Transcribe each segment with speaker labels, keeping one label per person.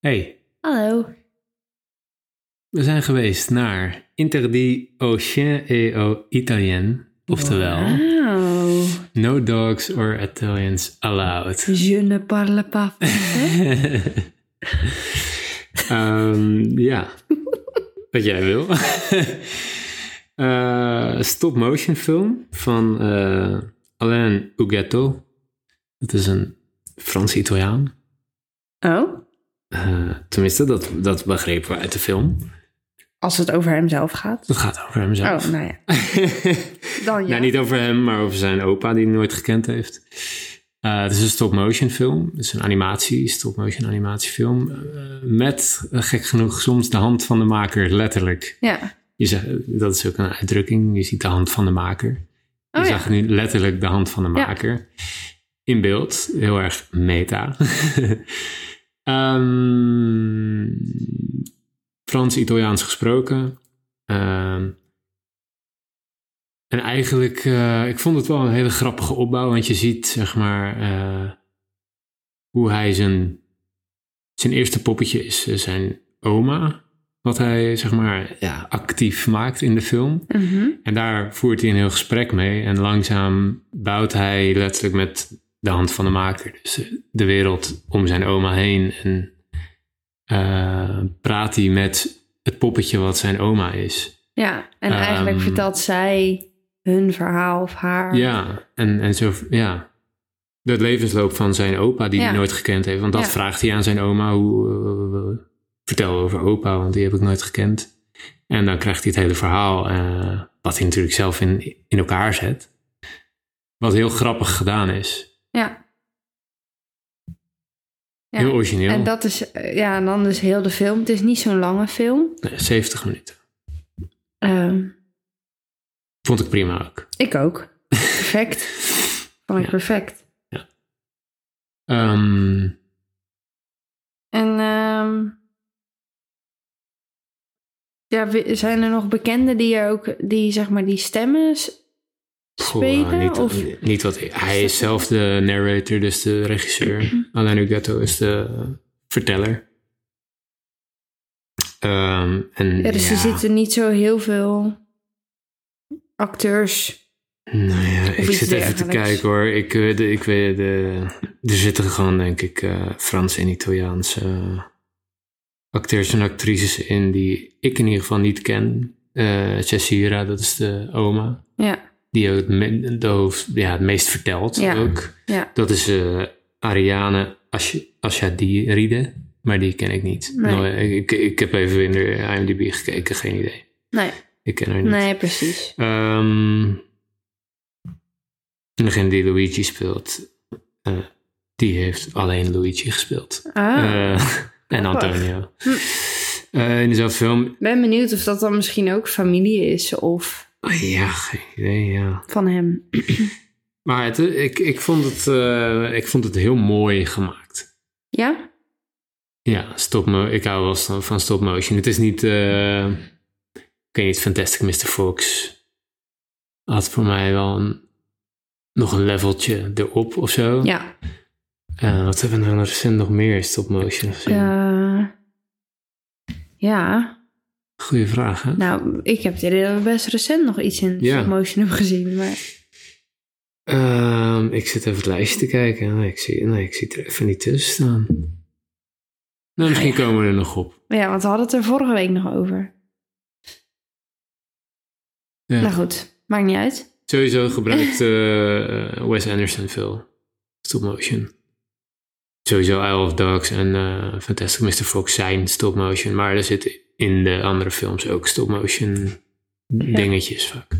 Speaker 1: Hey,
Speaker 2: Hallo.
Speaker 1: we zijn geweest naar Inter di Ocean e o Italien. Oftewel,
Speaker 2: Wauw.
Speaker 1: no dogs or Italians allowed.
Speaker 2: Je ne parle pas français.
Speaker 1: Ehm, ja, wat jij wil. Eh, Stop-motion film van eh, Alain Ugetto. Dat is een Frans-Italiaan.
Speaker 2: Oh,
Speaker 1: Eh, tenminste, dat, dat begrepen we uit de film.
Speaker 2: als het over hemzelf gaat.
Speaker 1: Dat gaat over hemzelf.
Speaker 2: Oh, nou ja. Dan ja.
Speaker 1: Nou, niet over hem, maar over zijn opa die hij nooit gekend heeft. Eh, het is een stop-motion film. Het is een animatie, stop-motion animatiefilm. eh, met, eh, gek genoeg, soms de hand van de maker, letterlijk.
Speaker 2: Ja.
Speaker 1: Je zegt, dat is ook een uitdrukking. Je ziet de hand van de maker. Je
Speaker 2: Oh, ja.
Speaker 1: zag nu letterlijk de hand van de
Speaker 2: Ja.
Speaker 1: maker. In beeld, heel erg meta. Ehm, Frans-Italiaans gesproken. Ehm, en eigenlijk, eh, ik vond het wel een hele grappige opbouw, want je ziet zeg maar eh, hoe hij zijn, zijn eerste poppetje is, eh, zijn oma. Wat hij zeg maar ja, actief maakt in de film.
Speaker 2: Mhm.
Speaker 1: En daar voert hij een heel gesprek mee. En langzaam bouwt hij letterlijk met de hand van de maker. Dus eh, de wereld om zijn oma heen. En eh, praat hij met het poppetje wat zijn oma is.
Speaker 2: Ja, en eigenlijk
Speaker 1: Ehm.
Speaker 2: vertelt zij hun verhaal of haar.
Speaker 1: Ja, en, en zo, ja. De levensloop van zijn opa die hij
Speaker 2: Ja.
Speaker 1: nooit gekend heeft. Want dat
Speaker 2: Ja.
Speaker 1: vraagt hij aan zijn oma. Hoe, eh, vertel over opa, want die heb ik nooit gekend. En dan krijgt hij het hele verhaal, eh, wat hij natuurlijk zelf in, in elkaar zet. Wat heel grappig gedaan is.
Speaker 2: Ja. Ja.
Speaker 1: Heel origineel.
Speaker 2: En dat is, eh, ja, en dan is heel de film. Het is niet zo'n lange film.
Speaker 1: Nee, 70 minuten.
Speaker 2: Ehm,
Speaker 1: Vond ik prima ook.
Speaker 2: ik ook. Perfect. Vond ik perfect.
Speaker 1: Ehm,
Speaker 2: En ehm, ja, wi- zijn er nog bekenden die er ook, die zeg maar die stemmen s-
Speaker 1: goh,
Speaker 2: spelen?
Speaker 1: niet, eh,
Speaker 2: of,
Speaker 1: niet wat, hij is zelf de narrator, dus de
Speaker 2: Mm-hmm.
Speaker 1: regisseur. Alain Ugetto is de eh, verteller. Ehm, en
Speaker 2: ja, dus er zitten niet zo heel veel acteurs.
Speaker 1: Nou ja, ik
Speaker 2: iets
Speaker 1: zit even te
Speaker 2: dergelijks.
Speaker 1: kijken hoor. Ik, eh, de, ik weet, de, er zitten gewoon, denk ik, eh, Frans en Italiaanse eh, acteurs en actrices in die ik in ieder geval niet ken. Eh Cesira, dat is de oma,
Speaker 2: Ja,
Speaker 1: die ook het, me- de hoofd, ja, het meest vertelt
Speaker 2: Ja.
Speaker 1: ook.
Speaker 2: ja.
Speaker 1: Dat is eh, Ariane Ash- Ashadiride, maar die ken ik niet.
Speaker 2: Nee.
Speaker 1: Nou, ik, ik heb even in de IMDb gekeken, geen idee.
Speaker 2: Nee,
Speaker 1: Ik ken haar niet.
Speaker 2: nee, precies.
Speaker 1: Ehm, en degene die Luigi speelt, eh, die heeft alleen Luigi gespeeld.
Speaker 2: Ah, ik
Speaker 1: Eh, en
Speaker 2: grappig. Hm.
Speaker 1: Antonio. Eh, in dezelfde film,
Speaker 2: ben benieuwd of dat dan misschien ook familie is of
Speaker 1: oh, ja, geen idee, ja.
Speaker 2: van hem.
Speaker 1: Maar het, ik, ik, vond het, eh, ik vond het heel mooi gemaakt.
Speaker 2: Ja?
Speaker 1: Ja, stop mo- ik hou wel van van stop motion. Het is niet, eh, ik weet niet, Fantastic Mr. Fox had voor mij wel een, nog een leveltje erop of zo.
Speaker 2: Ja.
Speaker 1: Eh, wat hebben we nou recent nog meer stop motion gezien?
Speaker 2: Eh, ja.
Speaker 1: Goeie vraag, hè?
Speaker 2: Nou, ik heb het idee dat we best recent nog iets in
Speaker 1: Ja.
Speaker 2: motion hebben gezien. Maar
Speaker 1: Ehm, ik zit even het lijstje te kijken. Nee, ik zie, nee, ik zie het er even niet tussen staan. Nou, misschien komen we er nog op.
Speaker 2: ja, want we hadden het er vorige week nog over.
Speaker 1: Ja.
Speaker 2: Nou goed, maakt niet uit.
Speaker 1: Sowieso gebruikt eh, eh, Wes Anderson veel stop motion. Sowieso Isle of Dogs en eh, Fantastic Mr. Fox zijn stop motion. Maar er zitten in de andere films ook stop motion dingetjes vaak.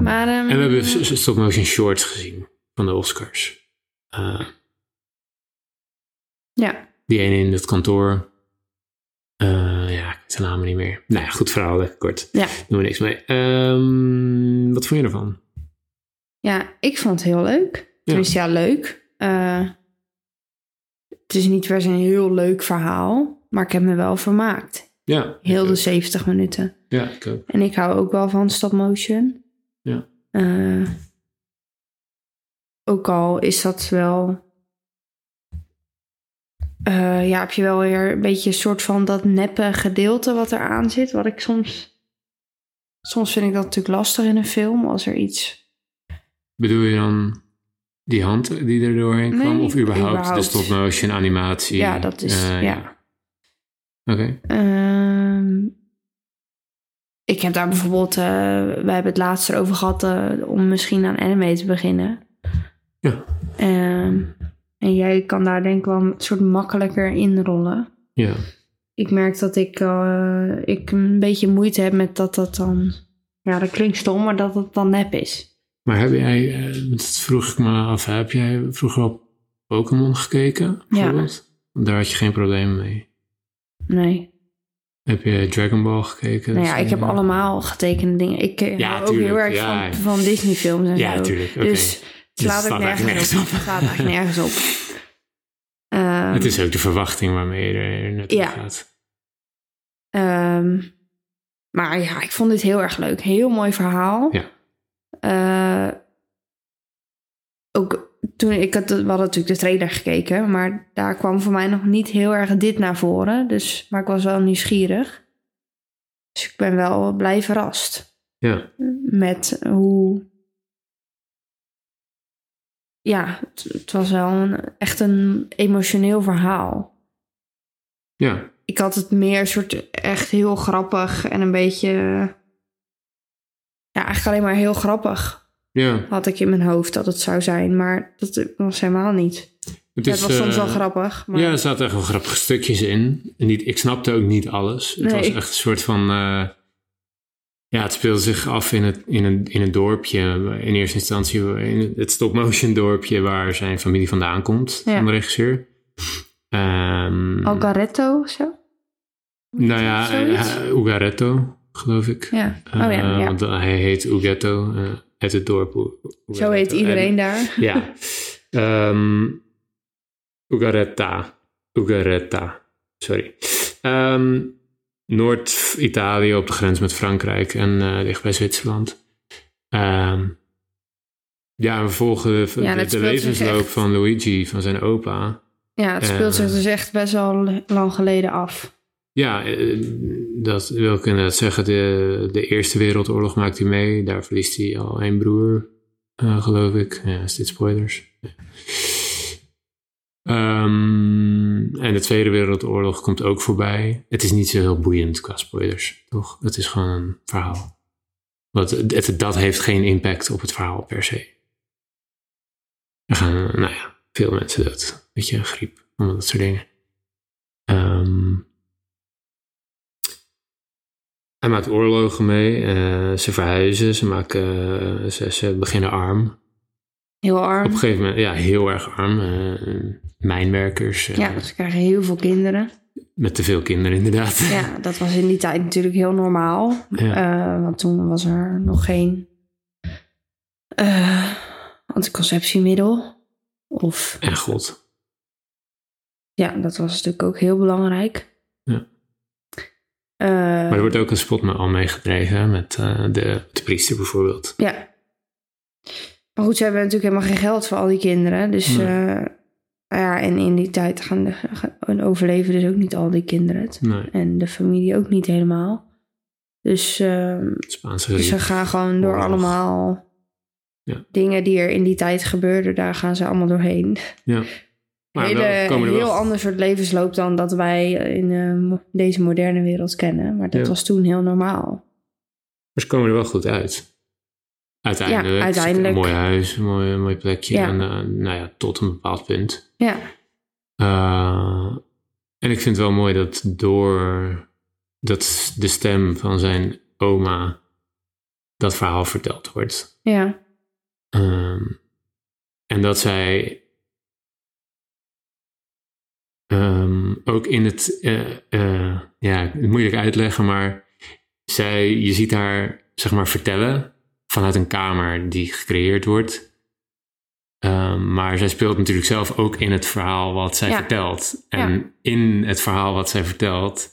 Speaker 2: Maar, ehm,
Speaker 1: En we hebben s- s- stop-motion shorts gezien van de Oscars. Eh,
Speaker 2: Ja,
Speaker 1: die ene in het kantoor. Eh, ja, ik weet de namen niet meer. Nou ja, goed verhaal, lekker kort.
Speaker 2: Ja.
Speaker 1: Doen we niks mee. Ehm, wat vond je ervan?
Speaker 2: ja, ik vond het heel leuk. Tenminste, ja, leuk. Eh, het is niet per se een heel leuk verhaal, maar ik heb me wel vermaakt.
Speaker 1: Ja. ik
Speaker 2: Heel dus- de
Speaker 1: ook.
Speaker 2: 70 minuten.
Speaker 1: Ja, ik ook.
Speaker 2: En ik hou ook wel van stop motion.
Speaker 1: Ja.
Speaker 2: Eh, ook al is dat wel eh, ja, heb je wel weer een beetje een soort van dat neppe gedeelte wat eraan zit. Wat ik soms. Soms vind ik dat natuurlijk lastig in een film als er iets.
Speaker 1: Bedoel je dan die hand die er doorheen
Speaker 2: Nee,
Speaker 1: kwam? Of überhaupt, de
Speaker 2: überhaupt.
Speaker 1: stop-motion animatie?
Speaker 2: Ja, dat is.
Speaker 1: Eh,
Speaker 2: ja.
Speaker 1: Oké.
Speaker 2: Ehm, ik heb daar bijvoorbeeld, eh wij hebben het laatst over gehad eh, om misschien aan anime te beginnen.
Speaker 1: Ja.
Speaker 2: Ehm, en jij kan daar denk ik wel een soort makkelijker inrollen.
Speaker 1: Ja.
Speaker 2: Ik merk dat ik, eh, ik een beetje moeite heb met dat dat dan, ja dat klinkt stom, maar dat het dan nep is.
Speaker 1: Maar heb jij, eh, dat vroeg ik me af, heb jij vroeger op Pokémon gekeken? Bijvoorbeeld? Ja. Daar had je geen probleem mee.
Speaker 2: Nee.
Speaker 1: Heb je Dragon Ball gekeken?
Speaker 2: Nou
Speaker 1: Dat
Speaker 2: ja,
Speaker 1: soort
Speaker 2: ik heb
Speaker 1: dingen?
Speaker 2: allemaal getekende dingen. Ik eh,
Speaker 1: Ja,
Speaker 2: hou ook
Speaker 1: tuurlijk,
Speaker 2: heel erg
Speaker 1: ja.
Speaker 2: van, van Disney films en
Speaker 1: Ja,
Speaker 2: zo.
Speaker 1: tuurlijk. Oké.
Speaker 2: Dus het
Speaker 1: Dus
Speaker 2: slaat
Speaker 1: het
Speaker 2: ook
Speaker 1: slaat eigenlijk
Speaker 2: nergens op.
Speaker 1: nergens op.
Speaker 2: Het slaat eigenlijk nergens op. Ehm,
Speaker 1: het is ook de verwachting waarmee je er naartoe
Speaker 2: Ja.
Speaker 1: gaat.
Speaker 2: ehm, maar ja, ik vond dit heel erg leuk. Heel mooi verhaal.
Speaker 1: Ja.
Speaker 2: Eh, ook toen ik had, we hadden natuurlijk de trailer gekeken, maar daar kwam voor mij nog niet heel erg dit naar voren. Dus, maar ik was wel nieuwsgierig. Dus ik ben wel blij verrast.
Speaker 1: Ja.
Speaker 2: met hoe. Ja, het, het was wel een, echt een emotioneel verhaal.
Speaker 1: Ja.
Speaker 2: Ik had het meer soort echt heel grappig en een beetje. Ja, eigenlijk alleen maar heel grappig
Speaker 1: Ja.
Speaker 2: had ik in mijn hoofd dat het zou zijn, maar dat was helemaal niet.
Speaker 1: Het,
Speaker 2: Ja, het was soms wel
Speaker 1: eh,
Speaker 2: grappig, maar
Speaker 1: Ja, er zaten echt wel grappige stukjes in. En niet, ik snapte ook niet alles. Het
Speaker 2: Nee.
Speaker 1: was echt een soort van... eh, ja, het speelde zich af in, het, in, een, in een dorpje. In eerste instantie in het stop-motion dorpje... waar zijn familie vandaan komt,
Speaker 2: Ja.
Speaker 1: van de regisseur. Ehm,
Speaker 2: Algaretto of zo?
Speaker 1: nou ja,
Speaker 2: Zoiets?
Speaker 1: eh, Ugaretto, geloof ik.
Speaker 2: Ja, oh ja,
Speaker 1: Eh,
Speaker 2: ja.
Speaker 1: Want hij heet Ugetto eh, uit het dorp. U- Ugaretto.
Speaker 2: zo heet iedereen
Speaker 1: En-
Speaker 2: daar.
Speaker 1: ja. Ehm Ugaretta. Ugaretta. Sorry. Ehm, Noord-Italië op de grens met Frankrijk en eh, dicht bij Zwitserland. Ehm, ja, we volgen de,
Speaker 2: Ja,
Speaker 1: de-
Speaker 2: dat
Speaker 1: de
Speaker 2: speelt zich
Speaker 1: levensloop
Speaker 2: echt-
Speaker 1: van Luigi, van zijn opa.
Speaker 2: Ja, het speelt zich
Speaker 1: Eh.
Speaker 2: dus echt best wel lang geleden af.
Speaker 1: Ja, eh, dat wil ik inderdaad zeggen. De, de Eerste Wereldoorlog maakt hij mee. Daar verliest hij al één broer, eh, geloof ik. Ja, is dit spoilers? Ehm, en de Tweede Wereldoorlog komt ook voorbij. Het is niet zo heel boeiend qua spoilers, toch? Het is gewoon een verhaal. Want het, dat heeft geen impact op het verhaal per se. Er gaan, eh, nou ja, veel mensen dood. Weet je, griep, allemaal dat soort dingen. Ehm hij maakt oorlogen mee, eh, ze verhuizen, ze, maken, eh, ze, ze beginnen arm.
Speaker 2: Heel
Speaker 1: Op
Speaker 2: arm.
Speaker 1: een gegeven moment, ja, heel erg arm. eh, mijnwerkers, eh,
Speaker 2: Ja, ze krijgen heel veel kinderen.
Speaker 1: met te veel kinderen inderdaad.
Speaker 2: Ja, dat was in die tijd natuurlijk heel normaal.
Speaker 1: Ja.
Speaker 2: Eh, want toen was er nog geen eh, anticonceptiemiddel. Of
Speaker 1: En god,
Speaker 2: ja, dat was natuurlijk ook heel belangrijk.
Speaker 1: Ja.
Speaker 2: Eh,
Speaker 1: maar er wordt ook een spot me al meegedreven hè, met eh, de, de priester bijvoorbeeld.
Speaker 2: Ja. Maar goed, ze hebben natuurlijk helemaal geen geld voor al die kinderen. Dus
Speaker 1: Nee.
Speaker 2: eh, ja, en in die tijd gaan de, gaan overleven dus ook niet al die kinderen het.
Speaker 1: Nee,
Speaker 2: En de familie ook niet helemaal. Dus ehm,
Speaker 1: het Spaanse
Speaker 2: Dus ze
Speaker 1: griep.
Speaker 2: gaan gewoon door
Speaker 1: Oorlog.
Speaker 2: allemaal
Speaker 1: Ja.
Speaker 2: dingen die er in die tijd gebeurden, daar gaan ze allemaal doorheen.
Speaker 1: Maar
Speaker 2: Hele,
Speaker 1: wel, komen er
Speaker 2: een heel
Speaker 1: wel,
Speaker 2: ander soort levensloop dan dat wij in eh, mo- deze moderne wereld kennen. Maar dat
Speaker 1: Ja.
Speaker 2: was toen heel normaal.
Speaker 1: maar ze komen er wel goed uit. Uiteindelijk.
Speaker 2: uiteindelijk.
Speaker 1: Een mooi huis, een mooi, een mooi plekje.
Speaker 2: Ja.
Speaker 1: En, eh, nou ja, tot een bepaald punt.
Speaker 2: Ja,
Speaker 1: Eh, en ik vind het wel mooi dat door dat de stem van zijn oma dat verhaal verteld wordt.
Speaker 2: ja,
Speaker 1: Ehm, en dat zij ehm, ook in het, eh, eh, ja, moeilijk uitleggen, maar zij, je ziet haar zeg maar vertellen vanuit een kamer die gecreëerd wordt. Ehm, maar zij speelt natuurlijk zelf ook in het verhaal wat zij
Speaker 2: Ja.
Speaker 1: vertelt. En in het verhaal wat zij vertelt,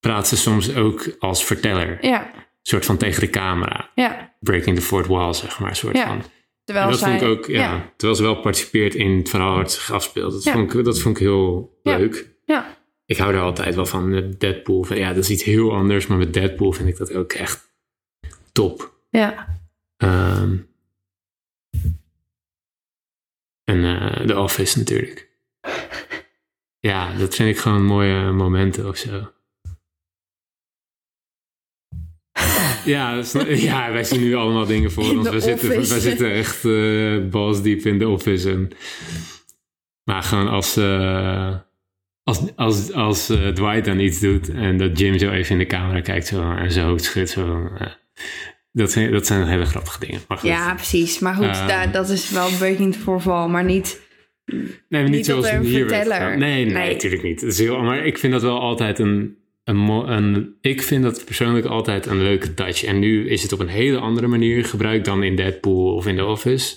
Speaker 1: praat ze soms ook als verteller.
Speaker 2: ja,
Speaker 1: soort van tegen de camera
Speaker 2: ja,
Speaker 1: breaking the fourth wall, zeg maar, soort
Speaker 2: Ja.
Speaker 1: van.
Speaker 2: Terwijl
Speaker 1: en dat
Speaker 2: zij,
Speaker 1: vond ik ook, ja,
Speaker 2: ja.
Speaker 1: Terwijl ze wel participeert in het verhaal waar het zich afspeelt. Dat,
Speaker 2: Ja.
Speaker 1: vond, ik, dat vond ik heel
Speaker 2: Ja.
Speaker 1: leuk.
Speaker 2: Ja.
Speaker 1: Ik hou daar altijd wel van. Met Deadpool, van, ja, dat is iets heel anders. Maar met Deadpool vind ik dat ook echt top.
Speaker 2: Ja.
Speaker 1: Ehm, en eh The Office natuurlijk. ja, dat vind ik gewoon mooie momenten of zo. Ja, dat is- ja, wij zien nu allemaal dingen voor
Speaker 2: In
Speaker 1: ons.
Speaker 2: The
Speaker 1: Wij zitten, wij
Speaker 2: Office.
Speaker 1: zitten echt eh balsdiep in de office. En, maar gewoon als, eh, als, als, als eh, Dwight dan iets doet en dat Jim zo even in de camera kijkt zo, en zijn hoofd schudt. Zo, eh, dat, zijn, dat zijn hele grappige dingen. Maar goed.
Speaker 2: ja, precies. Maar goed,
Speaker 1: Ehm.
Speaker 2: daar, dat is wel een beetje in het voorval. Maar niet...
Speaker 1: Nee, maar niet,
Speaker 2: Niet dat
Speaker 1: zoals
Speaker 2: er een
Speaker 1: hier werd
Speaker 2: verteller-
Speaker 1: gedaan. Nee, nee,
Speaker 2: Nee.
Speaker 1: natuurlijk niet. Het is heel, maar ik vind dat wel altijd een, een, mo- een... Ik vind dat persoonlijk altijd een leuke touch. En nu is het op een hele andere manier gebruikt dan in Deadpool of in The Office.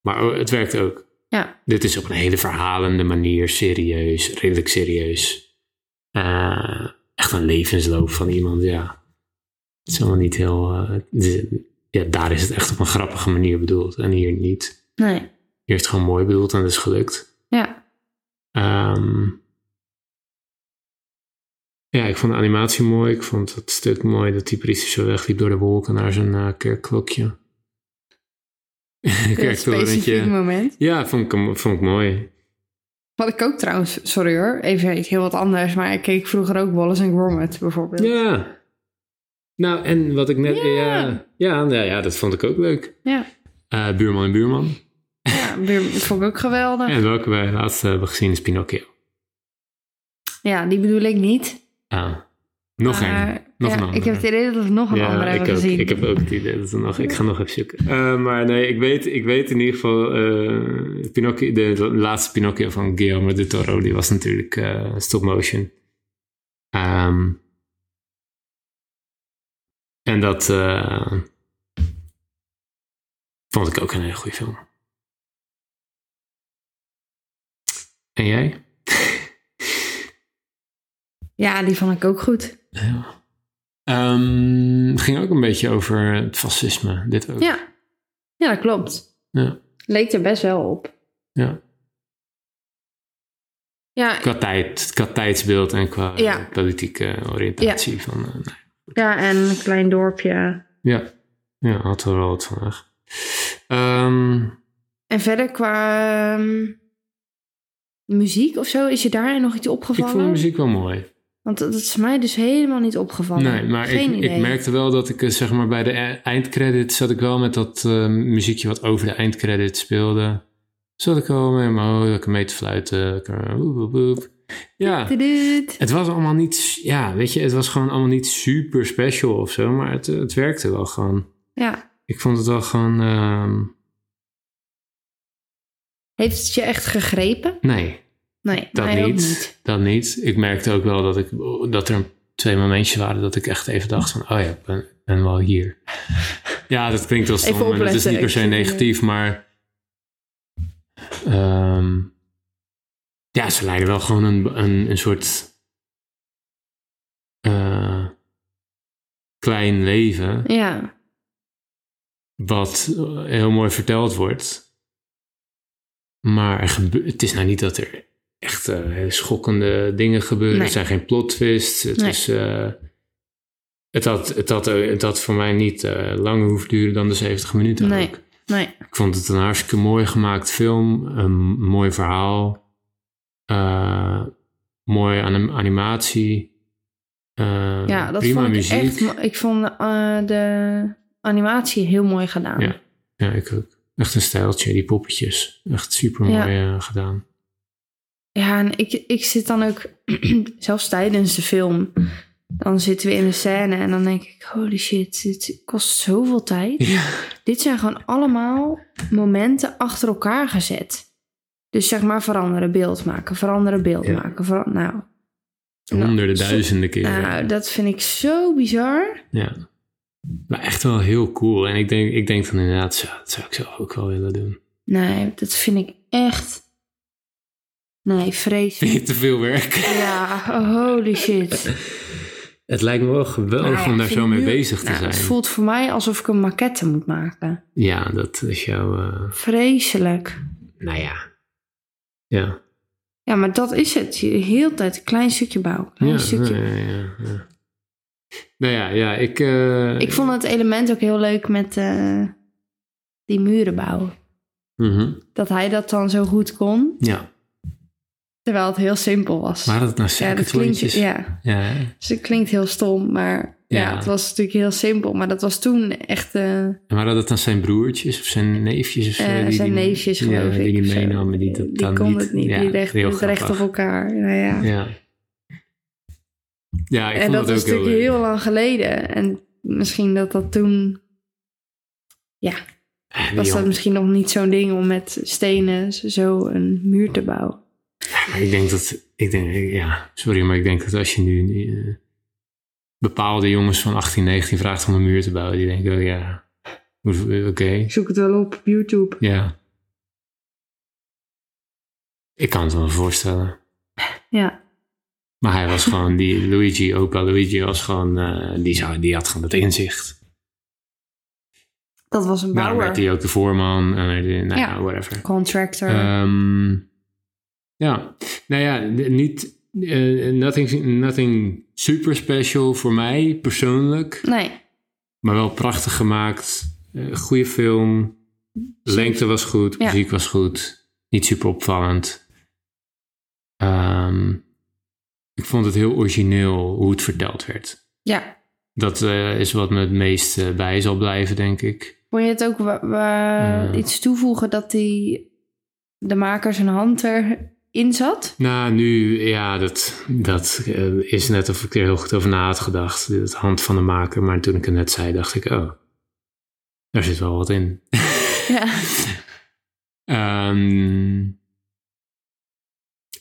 Speaker 1: Maar o- het werkt ook.
Speaker 2: Ja.
Speaker 1: Dit is op een hele verhalende manier serieus, redelijk serieus. Eh, echt een levensloop van iemand, ja. Het is helemaal niet heel... eh, het is- ja, daar is het echt op een grappige manier bedoeld en hier niet.
Speaker 2: Nee.
Speaker 1: Hier is het gewoon mooi bedoeld en het is gelukt.
Speaker 2: Ja.
Speaker 1: Ehm, ja, ik vond de animatie mooi. Ik vond het stuk mooi dat die politie zo wegliep door de wolken naar zijn eh, kerkklokje.
Speaker 2: Een specifiek
Speaker 1: Kerktorentje.
Speaker 2: moment.
Speaker 1: Ja, vond ik, vond ik mooi.
Speaker 2: Wat ik ook trouwens... Sorry hoor, even iets heel wat anders. Maar ik keek vroeger ook Wallace en Gromit bijvoorbeeld.
Speaker 1: Ja. Nou, en wat ik net...
Speaker 2: Ja.
Speaker 1: Ja, ja, nou ja dat vond ik ook leuk.
Speaker 2: Ja.
Speaker 1: Eh, buurman en buurman.
Speaker 2: Ja, weer- dat vond ik ook geweldig. Ja.
Speaker 1: En welke wij laatst eh, hebben gezien is Pinocchio.
Speaker 2: die bedoel ik niet.
Speaker 1: Ah, nog
Speaker 2: maar,
Speaker 1: één. Nog
Speaker 2: ja,
Speaker 1: een andere.
Speaker 2: Ik heb het idee dat we nog een andere
Speaker 1: ik
Speaker 2: hebben
Speaker 1: ook,
Speaker 2: gezien.
Speaker 1: Ik heb eh, ook het idee dat er nog... Ik ga nog even zoeken. Eh, maar nee, ik weet, ik weet in ieder geval... eh, Pinocchio, de laatste Pinocchio van Guillermo de Toro... die was natuurlijk eh, stop motion. Ehm, en dat... eh, vond ik ook een hele goede film. En jij?
Speaker 2: Ja, die vond ik ook goed.
Speaker 1: Ja. Ehm, het ging ook een beetje over het fascisme. Dit ook.
Speaker 2: Ja. ja, dat klopt.
Speaker 1: Ja.
Speaker 2: Leek er best wel op.
Speaker 1: Ja.
Speaker 2: Ja,
Speaker 1: Qua, tijd, qua tijdsbeeld en qua eh,
Speaker 2: Ja.
Speaker 1: politieke oriëntatie. Van, eh, nee.
Speaker 2: ja, en een klein dorpje.
Speaker 1: Ja, ja had er wel wat van weg. Ehm,
Speaker 2: En verder qua ehm, muziek of zo, is je daarin nog iets
Speaker 1: ik
Speaker 2: opgevallen?
Speaker 1: vond de muziek wel mooi.
Speaker 2: Want dat dat is mij dus helemaal niet opgevallen.
Speaker 1: Nee, maar
Speaker 2: Geen
Speaker 1: ik,
Speaker 2: idee.
Speaker 1: ik merkte wel dat ik eh, zeg maar bij de e- eindcredits zat ik wel met dat eh, muziekje wat over de eindcredits speelde. Zat ik wel mee in mijn hoofd, mee te fluiten. ik, eh, woep, woep, woep. Ja,
Speaker 2: Tuduut.
Speaker 1: het was allemaal niet, s- ja, weet je, het was gewoon allemaal niet super special of zo, maar het, eh, het werkte wel gewoon.
Speaker 2: Ja.
Speaker 1: Ik vond het wel gewoon, ehm,
Speaker 2: Heeft het je echt gegrepen?
Speaker 1: nee,
Speaker 2: Nee,
Speaker 1: Dat
Speaker 2: mij ook
Speaker 1: niet,
Speaker 2: niet.
Speaker 1: Dat niet. Ik merkte ook wel dat, ik, dat er twee momentjes waren dat ik echt even dacht van... oh ja, ik ben, ben wel hier. ja, dat klinkt wel
Speaker 2: Even
Speaker 1: stom en dat is
Speaker 2: opletten,
Speaker 1: niet per se
Speaker 2: ik-
Speaker 1: negatief, maar... ehm, ja, ze leiden wel gewoon een, een, een soort... eh, klein leven
Speaker 2: Ja.
Speaker 1: wat eh, heel mooi verteld wordt. Maar er gebe- het is nou niet dat er echt eh, hele schokkende dingen gebeuren.
Speaker 2: Nee.
Speaker 1: Er zijn geen plot twists. Het,
Speaker 2: Nee.
Speaker 1: is, eh, het, had, het, had, eh, het had voor mij niet eh, langer hoeven duren dan de 70 minuten.
Speaker 2: Nee.
Speaker 1: ook.
Speaker 2: Nee,
Speaker 1: Ik vond het een hartstikke mooi gemaakt film. Een mooi verhaal. eh, mooie anim- animatie. eh,
Speaker 2: ja, dat
Speaker 1: prima
Speaker 2: vond ik
Speaker 1: muziek.
Speaker 2: echt... mo- Ik vond eh, de animatie heel mooi gedaan.
Speaker 1: Ja. Ja, ik ook. Echt een stijltje, die poppetjes. Echt super mooi gedaan.
Speaker 2: Ja, en ik, ik zit dan ook, zelfs tijdens de film, dan zitten we in de scène en dan denk ik, holy shit, dit kost zoveel tijd.
Speaker 1: Ja.
Speaker 2: Dit zijn gewoon allemaal momenten achter elkaar gezet. Dus zeg maar veranderen, beeld maken, veranderen, beeld
Speaker 1: Ja.
Speaker 2: maken. veran- nou,
Speaker 1: Honderden,
Speaker 2: zo-
Speaker 1: duizenden keren.
Speaker 2: nou, dat vind ik zo bizar.
Speaker 1: ja. Maar echt wel heel cool. En ik denk, ik denk van inderdaad, zo, dat zou ik zelf ook wel willen doen.
Speaker 2: Nee, dat vind ik echt... Nee,
Speaker 1: Vind
Speaker 2: vreselijk.
Speaker 1: je te veel werk?
Speaker 2: Ja, holy shit.
Speaker 1: Het lijkt me wel geweldig
Speaker 2: Maar Nou ja,
Speaker 1: om daar
Speaker 2: ik vind
Speaker 1: zo mee
Speaker 2: nu-
Speaker 1: bezig te
Speaker 2: nou,
Speaker 1: zijn.
Speaker 2: Het voelt voor mij alsof ik een maquette moet maken.
Speaker 1: Ja, dat is jouw... eh,
Speaker 2: Vreselijk.
Speaker 1: nou ja. Ja.
Speaker 2: Ja, maar dat is het. Je- Heel de tijd een klein stukje bouwen. Klein
Speaker 1: ja,
Speaker 2: stukje.
Speaker 1: ja, ja, ja. Nou ja, ja ik... eh,
Speaker 2: Ik vond het element ook heel leuk met eh, die muren bouwen.
Speaker 1: mhm,
Speaker 2: Dat hij dat dan zo goed kon,
Speaker 1: Ja,
Speaker 2: terwijl het heel simpel was.
Speaker 1: waren dat nou
Speaker 2: ja, dat klinkt,
Speaker 1: secretlontjes? Ja,
Speaker 2: ja,
Speaker 1: ja.
Speaker 2: dus het klinkt heel stom, maar ja.
Speaker 1: Ja.
Speaker 2: het was natuurlijk heel simpel. Maar dat was toen echt eh,
Speaker 1: En waren dat dan zijn broertjes of zijn neefjes? Of zo,
Speaker 2: eh,
Speaker 1: die-
Speaker 2: zijn
Speaker 1: die-
Speaker 2: neefjes,
Speaker 1: ja,
Speaker 2: geloof ik.
Speaker 1: Die
Speaker 2: of
Speaker 1: die
Speaker 2: zo. Eh,
Speaker 1: meenamen, die dat dan
Speaker 2: kon
Speaker 1: niet...
Speaker 2: het niet, die legt
Speaker 1: heel
Speaker 2: het recht op
Speaker 1: grappig.
Speaker 2: elkaar. Nou ja.
Speaker 1: Ja. Ja, ik
Speaker 2: en
Speaker 1: vond
Speaker 2: dat
Speaker 1: dat
Speaker 2: is
Speaker 1: ook heel
Speaker 2: natuurlijk
Speaker 1: leuk.
Speaker 2: heel lang geleden. En misschien dat dat toen... Ja,
Speaker 1: Ja, die
Speaker 2: was dat
Speaker 1: jongen-
Speaker 2: misschien nog niet zo'n ding om met stenen zo een muur te bouwen.
Speaker 1: Maar ik denk dat, ik denk, ja, sorry, maar ik denk dat als je nu eh, bepaalde jongens van 18, 19 vraagt om een muur te bouwen, die denken, oh ja, hoe- oké,
Speaker 2: Ik zoek het wel op op YouTube.
Speaker 1: ja. Ik kan het me wel voorstellen.
Speaker 2: Ja,
Speaker 1: Maar hij was gewoon, die Luigi, opa Luigi was gewoon, eh, die, zou, die had gewoon dat inzicht.
Speaker 2: dat was een
Speaker 1: Daarom
Speaker 2: bouwer.
Speaker 1: werd hij ook de voorman, en, eh, nou ja,
Speaker 2: Ja.
Speaker 1: whatever.
Speaker 2: Contractor.
Speaker 1: Ehm, ja, nou ja, n- niet, eh, nothing, nothing super special voor mij persoonlijk,
Speaker 2: nee,
Speaker 1: maar wel prachtig gemaakt. Eh, goede film. Lengte was goed,
Speaker 2: Ja.
Speaker 1: muziek was goed. Niet super opvallend. Ehm, ik vond het heel origineel hoe het verteld werd.
Speaker 2: ja.
Speaker 1: Dat eh, is wat me het meest eh, bij zal blijven, denk ik.
Speaker 2: Vond je het ook wa- wa-
Speaker 1: Ja.
Speaker 2: iets toevoegen dat die, de maker zijn hand erin zat?
Speaker 1: Nou, nu, ja, dat, dat eh, is net of ik er heel goed over na had gedacht. Het hand van de maker. Maar toen ik het net zei, dacht ik, oh, daar zit wel wat in.
Speaker 2: Ja.
Speaker 1: Ehm,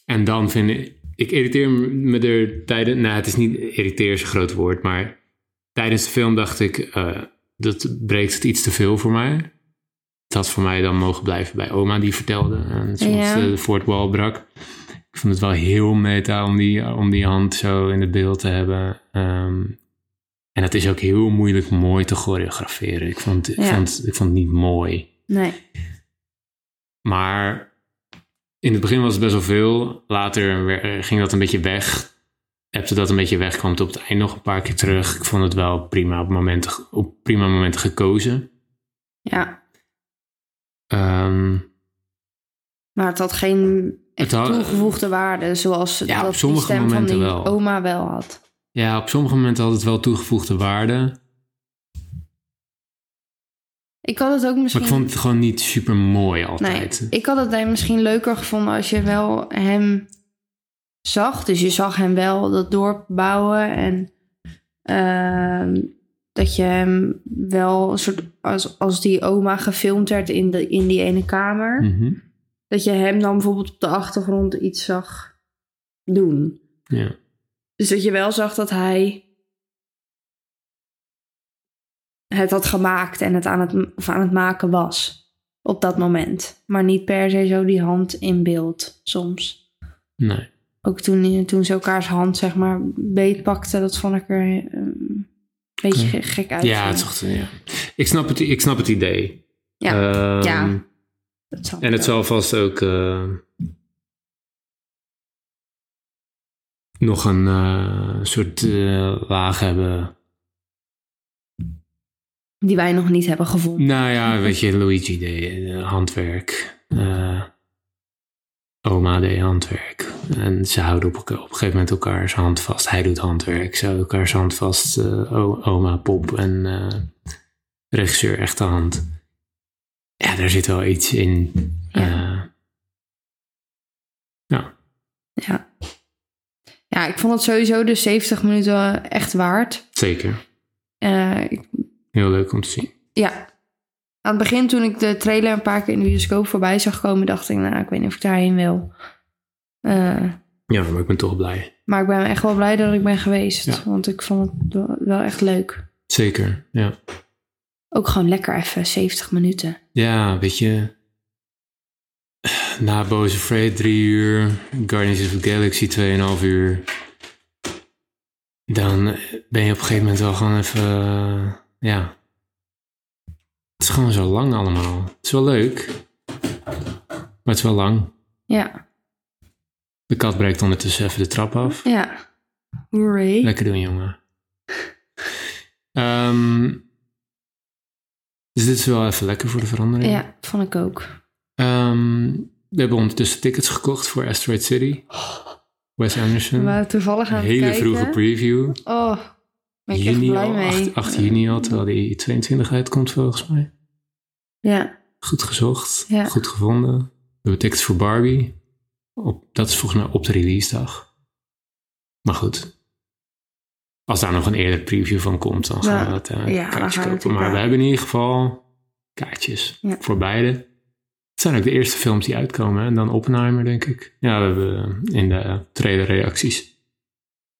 Speaker 1: en dan vind ik, ik irriteer me er tijdens, nou het is niet irriteer is een groot woord, maar tijdens de film dacht ik, eh, dat breekt het iets te veel voor mij. Het had voor mij dan mogen blijven bij oma die vertelde en soms eh,
Speaker 2: Ja.
Speaker 1: de fourth wall brak. Ik vond het wel heel meta om die, om die hand zo in het beeld te hebben. Ehm, en het is ook heel moeilijk mooi te choreograferen. Ik vond, ik
Speaker 2: Ja.
Speaker 1: vond, ik vond het niet mooi.
Speaker 2: Nee.
Speaker 1: Maar in het begin was het best wel veel. Later weer- eh, ging dat een beetje weg. Hebte dat een beetje weg, kwam het op het eind nog een paar keer terug. Ik vond het wel prima op, momenten, ge- op prima momenten gekozen.
Speaker 2: Ja,
Speaker 1: Ehm,
Speaker 2: maar het had geen echt
Speaker 1: had-
Speaker 2: toegevoegde waarde zoals
Speaker 1: Ja, op
Speaker 2: dat die
Speaker 1: sommige
Speaker 2: stem van
Speaker 1: momenten
Speaker 2: die
Speaker 1: wel.
Speaker 2: oma wel had.
Speaker 1: ja, op sommige momenten had het wel toegevoegde waarde.
Speaker 2: Ik had het ook misschien...
Speaker 1: Maar ik vond het gewoon niet super mooi
Speaker 2: Nee,
Speaker 1: altijd.
Speaker 2: ik had het dan misschien leuker gevonden als je wel hem zag. Dus je zag hem wel dat dorp bouwen en ehm, dat je hem wel een soort als, als die oma gefilmd werd in, de, in die ene kamer,
Speaker 1: Mhm,
Speaker 2: dat je hem dan bijvoorbeeld op de achtergrond iets zag doen.
Speaker 1: ja.
Speaker 2: Dus dat je wel zag dat hij het had gemaakt en het aan het, of aan het maken was op dat moment. Maar niet per se zo die hand in beeld soms.
Speaker 1: nee.
Speaker 2: Ook toen, toen ze elkaars hand zeg maar beetpakten, dat vond ik er eh, een beetje ge- gek uit.
Speaker 1: ja, het is echt- ja. Ik, snap het, ik snap het idee.
Speaker 2: Ja,
Speaker 1: Ehm,
Speaker 2: ja. dat zal
Speaker 1: En het zal
Speaker 2: wel.
Speaker 1: vast ook eh, nog een eh, soort eh, laag hebben.
Speaker 2: Die wij nog niet hebben gevonden.
Speaker 1: Nou ja, weet je, Luigi deed eh, handwerk. Eh, oma deed handwerk. En ze houden op, elka- op een gegeven moment elkaars hand vast. Hij doet handwerk. Ze houden elkaars hand vast. Eh, o- oma, pop en eh, regisseur echte hand. Ja, daar zit wel iets in.
Speaker 2: Ja.
Speaker 1: Eh,
Speaker 2: Ja. ja, ik vond het sowieso de 70 minuten echt waard.
Speaker 1: zeker.
Speaker 2: Eh, ik
Speaker 1: Heel leuk om te zien.
Speaker 2: Ja. Aan het begin, toen ik de trailer een paar keer in de bioscoop voorbij zag komen, dacht ik, nou, ik weet niet of ik daarheen wil. Eh,
Speaker 1: Ja, maar ik ben toch blij.
Speaker 2: maar ik ben echt wel blij dat ik ben geweest.
Speaker 1: Ja.
Speaker 2: Want ik vond het wel- wel echt leuk.
Speaker 1: Zeker, ja.
Speaker 2: Ook gewoon lekker even 70 minuten.
Speaker 1: Ja, weet je... Na Boze Afraid drie uur, Guardians of the Galaxy 2,5 uur. dan ben je op een gegeven moment wel gewoon even, eh, ja. Het is gewoon zo lang allemaal. Het is wel leuk, maar het is wel lang.
Speaker 2: Ja,
Speaker 1: De kat breekt ondertussen even de trap af.
Speaker 2: ja. Hooray.
Speaker 1: Lekker doen, jongen. Ehm, dus dit is wel even lekker voor de verandering.
Speaker 2: Ja, vond ik ook.
Speaker 1: Ehm, we hebben ondertussen tickets gekocht voor Asteroid City. Wes
Speaker 2: We
Speaker 1: Anderson.
Speaker 2: waren toevallig
Speaker 1: Een
Speaker 2: aan het
Speaker 1: hele
Speaker 2: kijken.
Speaker 1: vroege preview.
Speaker 2: Oh, ben ik echt
Speaker 1: juni
Speaker 2: blij
Speaker 1: al,
Speaker 2: mee.
Speaker 1: 8, 8 juni al, terwijl die 22 uitkomt volgens mij.
Speaker 2: Ja,
Speaker 1: Goed gezocht,
Speaker 2: Ja.
Speaker 1: goed gevonden. We hebben tickets voor Barbie. Op, dat is volgens mij op de release dag. Maar goed. Als daar nog een eerder preview van komt, dan gaan
Speaker 2: Nou,
Speaker 1: we dat eh,
Speaker 2: ja,
Speaker 1: kaartje
Speaker 2: dan gaan we
Speaker 1: kopen.
Speaker 2: natuurlijk
Speaker 1: Maar we
Speaker 2: wel.
Speaker 1: hebben in ieder geval kaartjes
Speaker 2: Ja.
Speaker 1: voor beide. Het zijn ook de eerste films die uitkomen. hè. En dan Oppenheimer, denk ik. Ja, we hebben eh, in de trailerreacties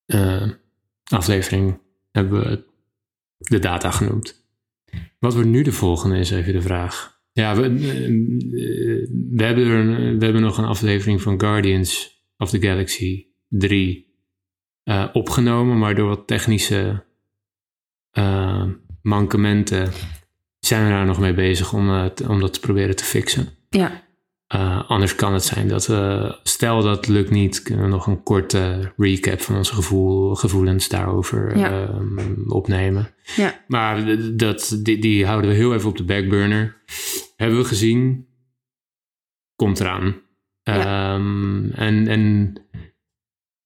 Speaker 1: eh, aflevering hebben we de data genoemd. Wat wordt nu de volgende, is even de vraag. Ja, we, eh, we, hebben, er een- we hebben nog een aflevering van Guardians of the Galaxy 3 eh, opgenomen, maar door wat technische eh, mankementen zijn we daar nog mee bezig om, eh, te- om dat te proberen te fixen.
Speaker 2: ja,
Speaker 1: Eh, anders kan het zijn dat we, stel dat lukt niet, kunnen we nog een korte recap van onze gevoel, gevoelens daarover
Speaker 2: Ja.
Speaker 1: ehm, opnemen.
Speaker 2: Ja.
Speaker 1: Maar d- dat, die, die houden we heel even op de backburner. Hebben we gezien, komt eraan. Ehm, en en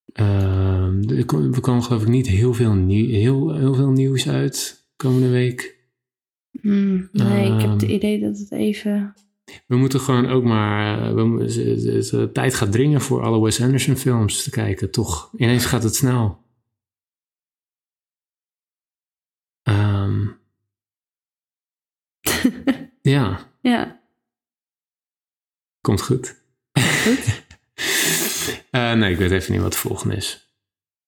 Speaker 1: ehm, er kom- er kwam geloof ik niet heel veel, nieuw, heel, heel veel nieuws uit komende week.
Speaker 2: Hmm, nee, ik heb het
Speaker 1: Ehm.
Speaker 2: idee dat het even...
Speaker 1: We moeten gewoon ook maar. eh, We, mo- ze- ze- ze- tijd gaat dringen voor alle Wes Anderson films te kijken, toch? Ineens gaat het snel. Ehm, ja,
Speaker 2: Ja,
Speaker 1: komt goed.
Speaker 2: goed.
Speaker 1: Eh, nee, ik weet even niet wat de volgende is.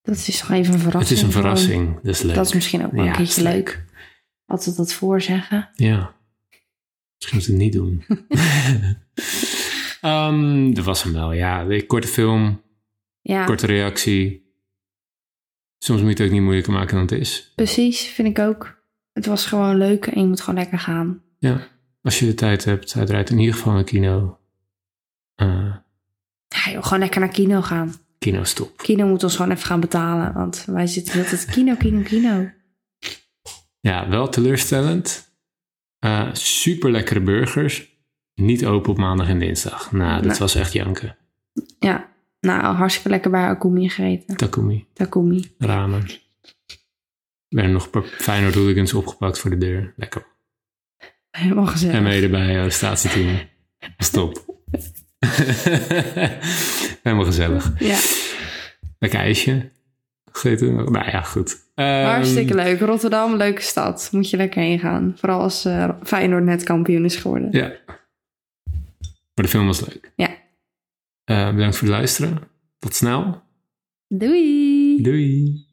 Speaker 2: Dat is toch even
Speaker 1: Het
Speaker 2: een verrassing.
Speaker 1: is een
Speaker 2: gewoon.
Speaker 1: verrassing, dat is leuk.
Speaker 2: Dat is misschien ook wel een
Speaker 1: Ja,
Speaker 2: keertje
Speaker 1: is leuk.
Speaker 2: leuk. Altijd dat voorzeggen.
Speaker 1: Ja. Misschien moet ik het niet doen. Ehm, dat was hem wel, ja. Korte film,
Speaker 2: Ja,
Speaker 1: korte reactie. Soms moet je het ook niet moeilijker maken dan het is.
Speaker 2: precies. Vind ik ook. Het was gewoon leuk en je moet gewoon lekker gaan.
Speaker 1: Als je de tijd hebt, uiteraard in ieder geval naar kino. Eh,
Speaker 2: Ja, joh, gewoon lekker naar kino gaan.
Speaker 1: kino stop.
Speaker 2: Kino moet ons gewoon even gaan betalen. Want wij zitten heel tijd kino, kino, kino.
Speaker 1: Ja, wel teleurstellend. Eh super lekkere burgers. Niet open op maandag en dinsdag. Nou, dat
Speaker 2: Nee.
Speaker 1: was echt janken.
Speaker 2: Ja, nou, hartstikke lekker bij Akumi gegeten.
Speaker 1: Takumi,
Speaker 2: Takumi.
Speaker 1: ramen. Er werden nog een paar Feyenoord hooligans opgepakt voor de deur. Lekker.
Speaker 2: Helemaal gezellig.
Speaker 1: En mede bij arrestatieteam. Stop. Helemaal gezellig.
Speaker 2: Ja,
Speaker 1: Lekker ijsje. Gegeten. Nou ja, goed. Ehm,
Speaker 2: hartstikke leuk. Rotterdam, leuke stad. Moet je lekker heen gaan. Vooral als eh, Feyenoord net kampioen is geworden.
Speaker 1: Ja. Maar de film was leuk.
Speaker 2: Ja.
Speaker 1: Eh, bedankt voor het luisteren. Tot snel.
Speaker 2: Doei!
Speaker 1: Doei.